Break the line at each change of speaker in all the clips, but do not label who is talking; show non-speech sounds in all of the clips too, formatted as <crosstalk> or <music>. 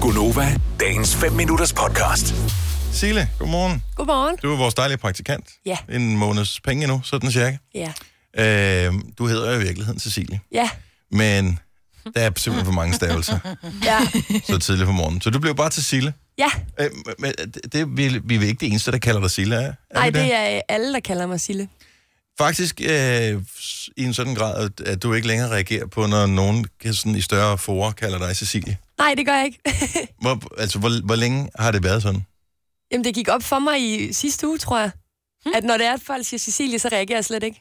Gunova, dagens 5 minutters podcast.
Sile, godmorgen.
Godmorgen.
Du er vores dejlige praktikant.
Ja.
En måneds penge nu, sådan cirka.
Ja.
Øh, du hedder jo i virkeligheden Cecilie,
Ja.
men der er simpelthen for mange stavelser
<laughs> Ja.
så tidligt på morgenen. Så du blev bare til Sille.
ja.
Øh, men det, det, vi, vi er ikke det eneste, der kalder dig Sille, er, er vi
Ej, det er øh, alle, der kalder mig Sille.
Faktisk øh, s- i en sådan grad, at- at du ikke længere reagerer på, når nogen kan sådan i større forer kalder dig Cecilie.
Nej, det gør jeg ikke. <laughs>
Hvor, altså, hvor, hvor længe har det været sådan?
Jamen, det gik op for mig i sidste uge, tror jeg. At når det er, at folk siger Cecilie, så reagerer jeg slet <laughs> ikke.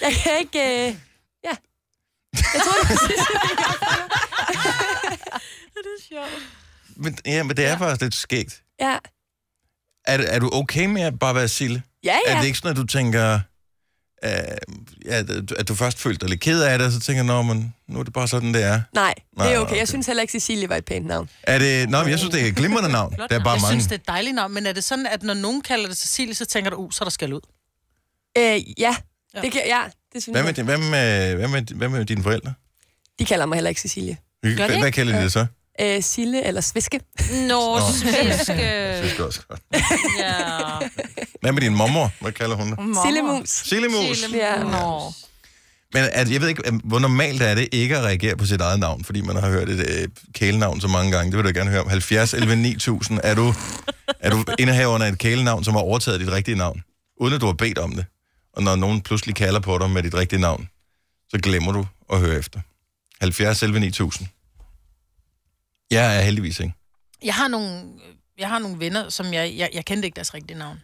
jeg kan ikke... Øh... Ja. Jeg tror, det
<laughs>
var sidste
Men, ja, men det er ja. faktisk lidt skægt.
Ja.
Er, er du okay med at bare være Sille?
Ja,
Er
ja.
det ikke sådan, at du tænker, øh, at, øh, at du først følte dig lidt ked af det, og så tænker, nå, men nu er det bare sådan, det er.
Nej,
Nej,
det er
okay.
okay. Jeg synes heller ikke, Cecilie var et pænt navn.
er det, nå, men jeg synes, det er et glimrende navn. Der er bare
jeg
mange.
synes, det er et dejligt navn, men er det sådan, at når nogen kalder det Cecilie, så tænker du, uh, så er der skal ud?
Øh, ja. Det kan, ja, det synes
Hvad
jeg.
med, din- hvad, med, hvad, med, hvad med dine forældre?
De kalder mig heller ikke Cecilie.
Gør
Hvad,
det
hvad kalder de det så?
Øh, Sille eller Sviske.
Nå, sviske.
Det skal også godt.
ja.
Hvad med din mormor? Hvad kalder hun dig?
Mm.
Sillemus.
Sillemus.
Ja.
Nå.
Men at, jeg ved ikke, at, hvor normalt er det ikke at reagere på sit eget navn, fordi man har hørt et øh, kælenavn så mange gange. Det vil du gerne høre om. 70, 11, 9000. Er du, er du indehaveren af et kælenavn, som har overtaget dit rigtige navn, uden at du har bedt om det? Og når nogen pludselig kalder på dig med dit rigtige navn, så glemmer du at høre efter. 70, 11, 9000. Jeg er heldigvis ikke.
Jeg har nogle, jeg har nogle venner, som jeg, jeg, jeg kendte ikke deres rigtige navn.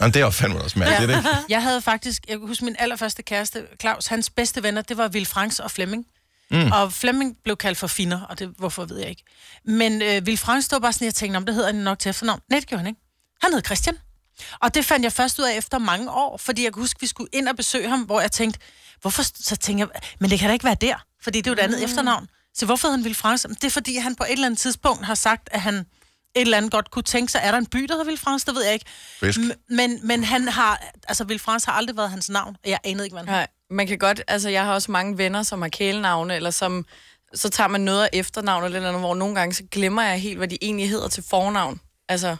Jamen, det er jo fandme også mærkeligt, ikke?
Jeg havde faktisk, jeg kan huske min allerførste kæreste, Claus, hans bedste venner, det var Vil Franks og Flemming. Mm. Og Flemming blev kaldt for Finner, og det, hvorfor ved jeg ikke. Men øh, Vil Frank stod bare sådan, jeg tænkte, om det hedder han nok til efternavn. Nej, det gjorde han ikke. Han hed Christian. Og det fandt jeg først ud af efter mange år, fordi jeg kan huske, vi skulle ind og besøge ham, hvor jeg tænkte, hvorfor, så tænker jeg, men det kan da ikke være der, fordi det er jo et andet mm. efternavn. Så hvorfor hed han Ville Franks? Det er fordi, han på et eller andet tidspunkt har sagt, at han et eller andet godt kunne tænke sig, er der en by, der hedder Ville Franks? Det ved jeg ikke.
Fisk.
M- Men, men han har, altså Ville Franks har aldrig været hans navn, og jeg anede ikke, hvad
Mm-hmm.
han hed.
Nej, man kan godt, altså jeg har også mange venner, som har kælenavne, eller som, så tager man noget af efternavn eller et eller andet, hvor nogle gange, så glemmer jeg helt, hvad de egentlig hedder til fornavn. Altså,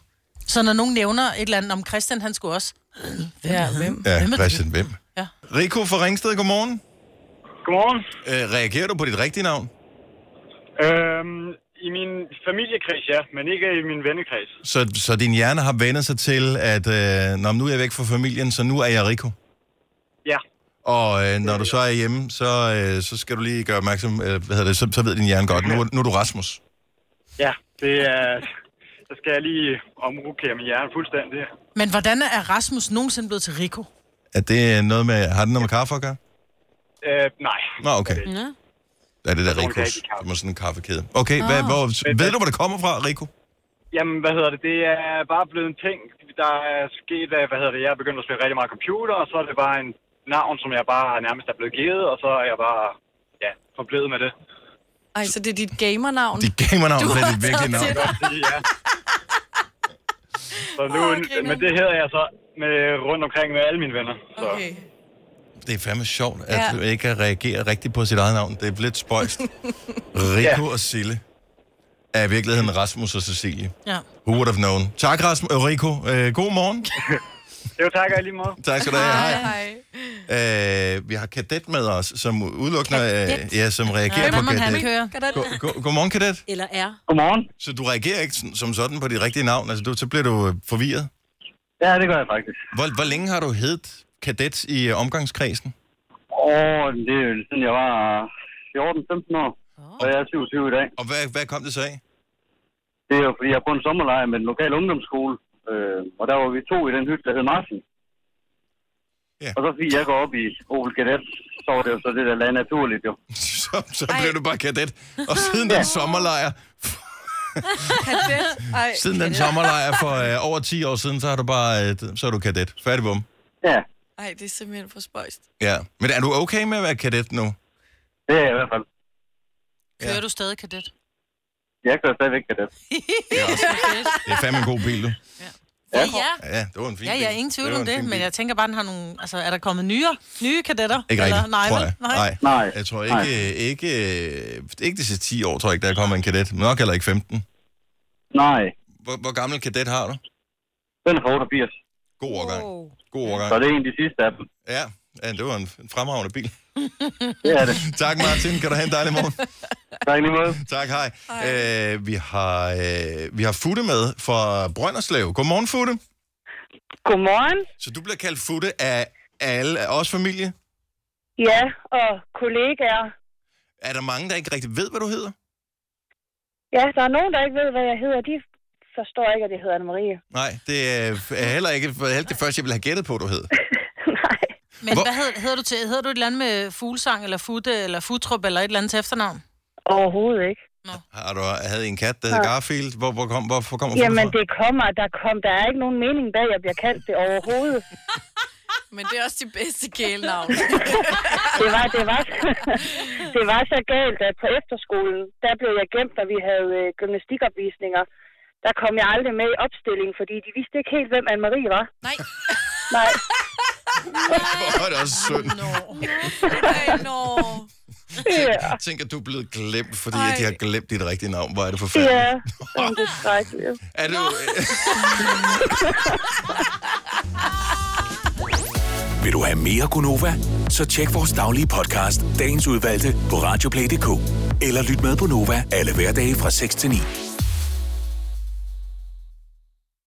Så når nogen nævner et eller andet om Christian, han skulle også... Hvem
ja,
er han?
hvem?
Ja,
Hvem er du?
Christian, hvem?
Ja.
Rico fra Ringsted, godmorgen.
Godmorgen.
Øh, reagerer du på dit rigtige navn?
Øhm, I min familiekreds, ja, men ikke i min vennekreds.
Så, så din hjerne har vendt sig til, at øh, når nu er jeg væk fra familien, så nu er jeg Rico.
Ja,
Og øh, når du så er hjemme, så, øh, så skal du lige gøre opmærksom, øh, hvad hedder det, så, så ved din hjerne godt, nu, er- nu er du Rasmus.
ja, det er... Der skal jeg lige omrokere min hjerne fuldstændig.
Men hvordan er Rasmus nogensinde blevet til Rico?
Er det noget med, har det noget med kaffe at gøre?
Øh, nej.
Nå, okay.
Ja.
Er det der
tror, det er
Ricos?
ikke kaffe.
Det må sådan en kaffekæde. Okay, hvad, hvor, ved du, hvor det kommer fra, Rico?
Jamen, hvad hedder det? Det er bare blevet en ting. Der er sket, at, hvad hedder det, jeg er begyndt at spille rigtig meget computer, og så er det bare en navn, som jeg bare nærmest er blevet givet, og så er jeg bare, ja, forblevet med det.
Ej, så det er dit gamernavn.
Dit gamernavn,
Du
det er
har
dit virkelige
taget
navn.
til
ja. Så nu,
Åh, griner.
men det hedder jeg så med, rundt omkring med alle mine venner. Så.
Okay.
Det er fandme sjovt, at ja.
Ja.
du ikke reagerer rigtigt på sit eget navn. Det er lidt spøjst. Rico ja. og Sille er i virkeligheden Rasmus og Cecilie.
Ja.
Who would have known? Tak, Rasmus. Øh, Rico, øh, god morgen.
Jo, tak og i lige måde.
Tak skal du have.
Hej,
Hej.
hej.
Øh, vi har Kadet med os, som udelukkende øh, ja, som reagerer
Hvem
på
må han
Kadet.
køre?
Go- go- Godmorgen, Kadet.
Eller er.
Godmorgen.
Så du reagerer ikke sådan- som sådan på dit rigtige navn? Altså, du, så bliver du øh, forvirret.
Ja, det gør jeg faktisk.
Hvor, hvor længe har du heddet Kadet i øh, omgangskredsen?
Åh, det er jo siden jeg var 14-15 år, og jeg er 27 i dag.
Og hvad, hvad kom det så af?
Det er jo fordi, jeg er på en sommerlejr med en lokal ungdomsskole, øh, og der var vi to i den hytte, der hed Martin.
Ja.
Og så fordi jeg går op i Opel Kadett, så var det jo så det, der lagde naturligt jo.
<laughs> Så, så blev du bare Kadet. Og siden den sommerlejr,
Kadet. Ej,
siden den sommerlejr for øh, over 10 år siden, så har du bare øh, så er du Kadet. Færdig bum.
Ja,
ej, det er simpelthen for spøjst.
Ja. Men er du okay med at være Kadet nu?
det er jeg i hvert fald.
Kører du stadig kadet?
Jeg kører stadigvæk Kadett.
Det er fandme en god bil, du.
Ja, ja.
Ja, det var en fin
<laughs> Ja, ja,
bil.
ingen tvivl
var
om
en
det,
fin
men
bil.
jeg tænker bare, den har nogle... Altså, er der kommet nyere, nye kadetter?
Ikke rigtigt,
nej,
tror
vel?
jeg.
Nej.
Nej.
Nej.
Jeg tror ikke, øh, ikke, øh, ikke de sidste 10 år, tror jeg ikke, der er kommet en kadet. Men nok heller ikke 15.
Nej,
Hvor, hvor gammel kadet har du?
den er fra 88.
God årgang.
Wow.
God
Så
årgang.
det er en af de sidste af dem.
Ja, ja det var en, en fremragende bil.
Det er det.
Tak, Martin. Kan du have en dejlig morgen?
Tak i lige måde.
tak, hej. Øh, vi, har, øh, vi har Futte med fra Brønderslev. Godmorgen, Futte.
Godmorgen.
Så du bliver kaldt Futte af alle, af os familie.
Ja, og kollegaer.
Er der mange, der ikke rigtig ved, hvad du hedder?
Ja, der er nogen, der ikke ved, hvad jeg hedder. De forstår ikke, at jeg hedder Anne-Marie.
Nej, det er er heller ikke for alt det første, jeg ville have gættet på, du hed.
Nej.
Men
Hvor-
hvad hedder, hedder du til? Hedder du et eller andet med fuglsang, eller futte, eller futrup, eller et eller andet til efternavn?
Overhovedet ikke.
Har du havde I en kat, der hed Garfield? Hvor, hvor kom, hvorfor kommer Futte
Jamen,
fra?
det kommer. Der, kom, der er ikke nogen mening bag, at jeg bliver kaldt det overhovedet.
Men det er også de bedste kælenavne.
Det var, det var, det var så galt, at på efterskolen, der blev jeg gemt, da vi havde øh, gymnastikopvisninger. Der kom jeg aldrig med i opstillingen, fordi de vidste ikke helt, hvem Anne-Marie var.
Nej.
Nej,
Hvor er det også synd.
Ej, nå.
ja,
Tænk, at du er blevet glemt, fordi at de har glemt dit rigtige navn. Hvor er det forfærdeligt.
ja, Jamen, det er skrækkeligt.
<laughs> Er du...
Vil du have mere Gunova? Så tjek vores daglige podcast, dagens udvalgte, på radioplay.dk. Eller lyt med på Nova alle hverdage fra 6 til 9.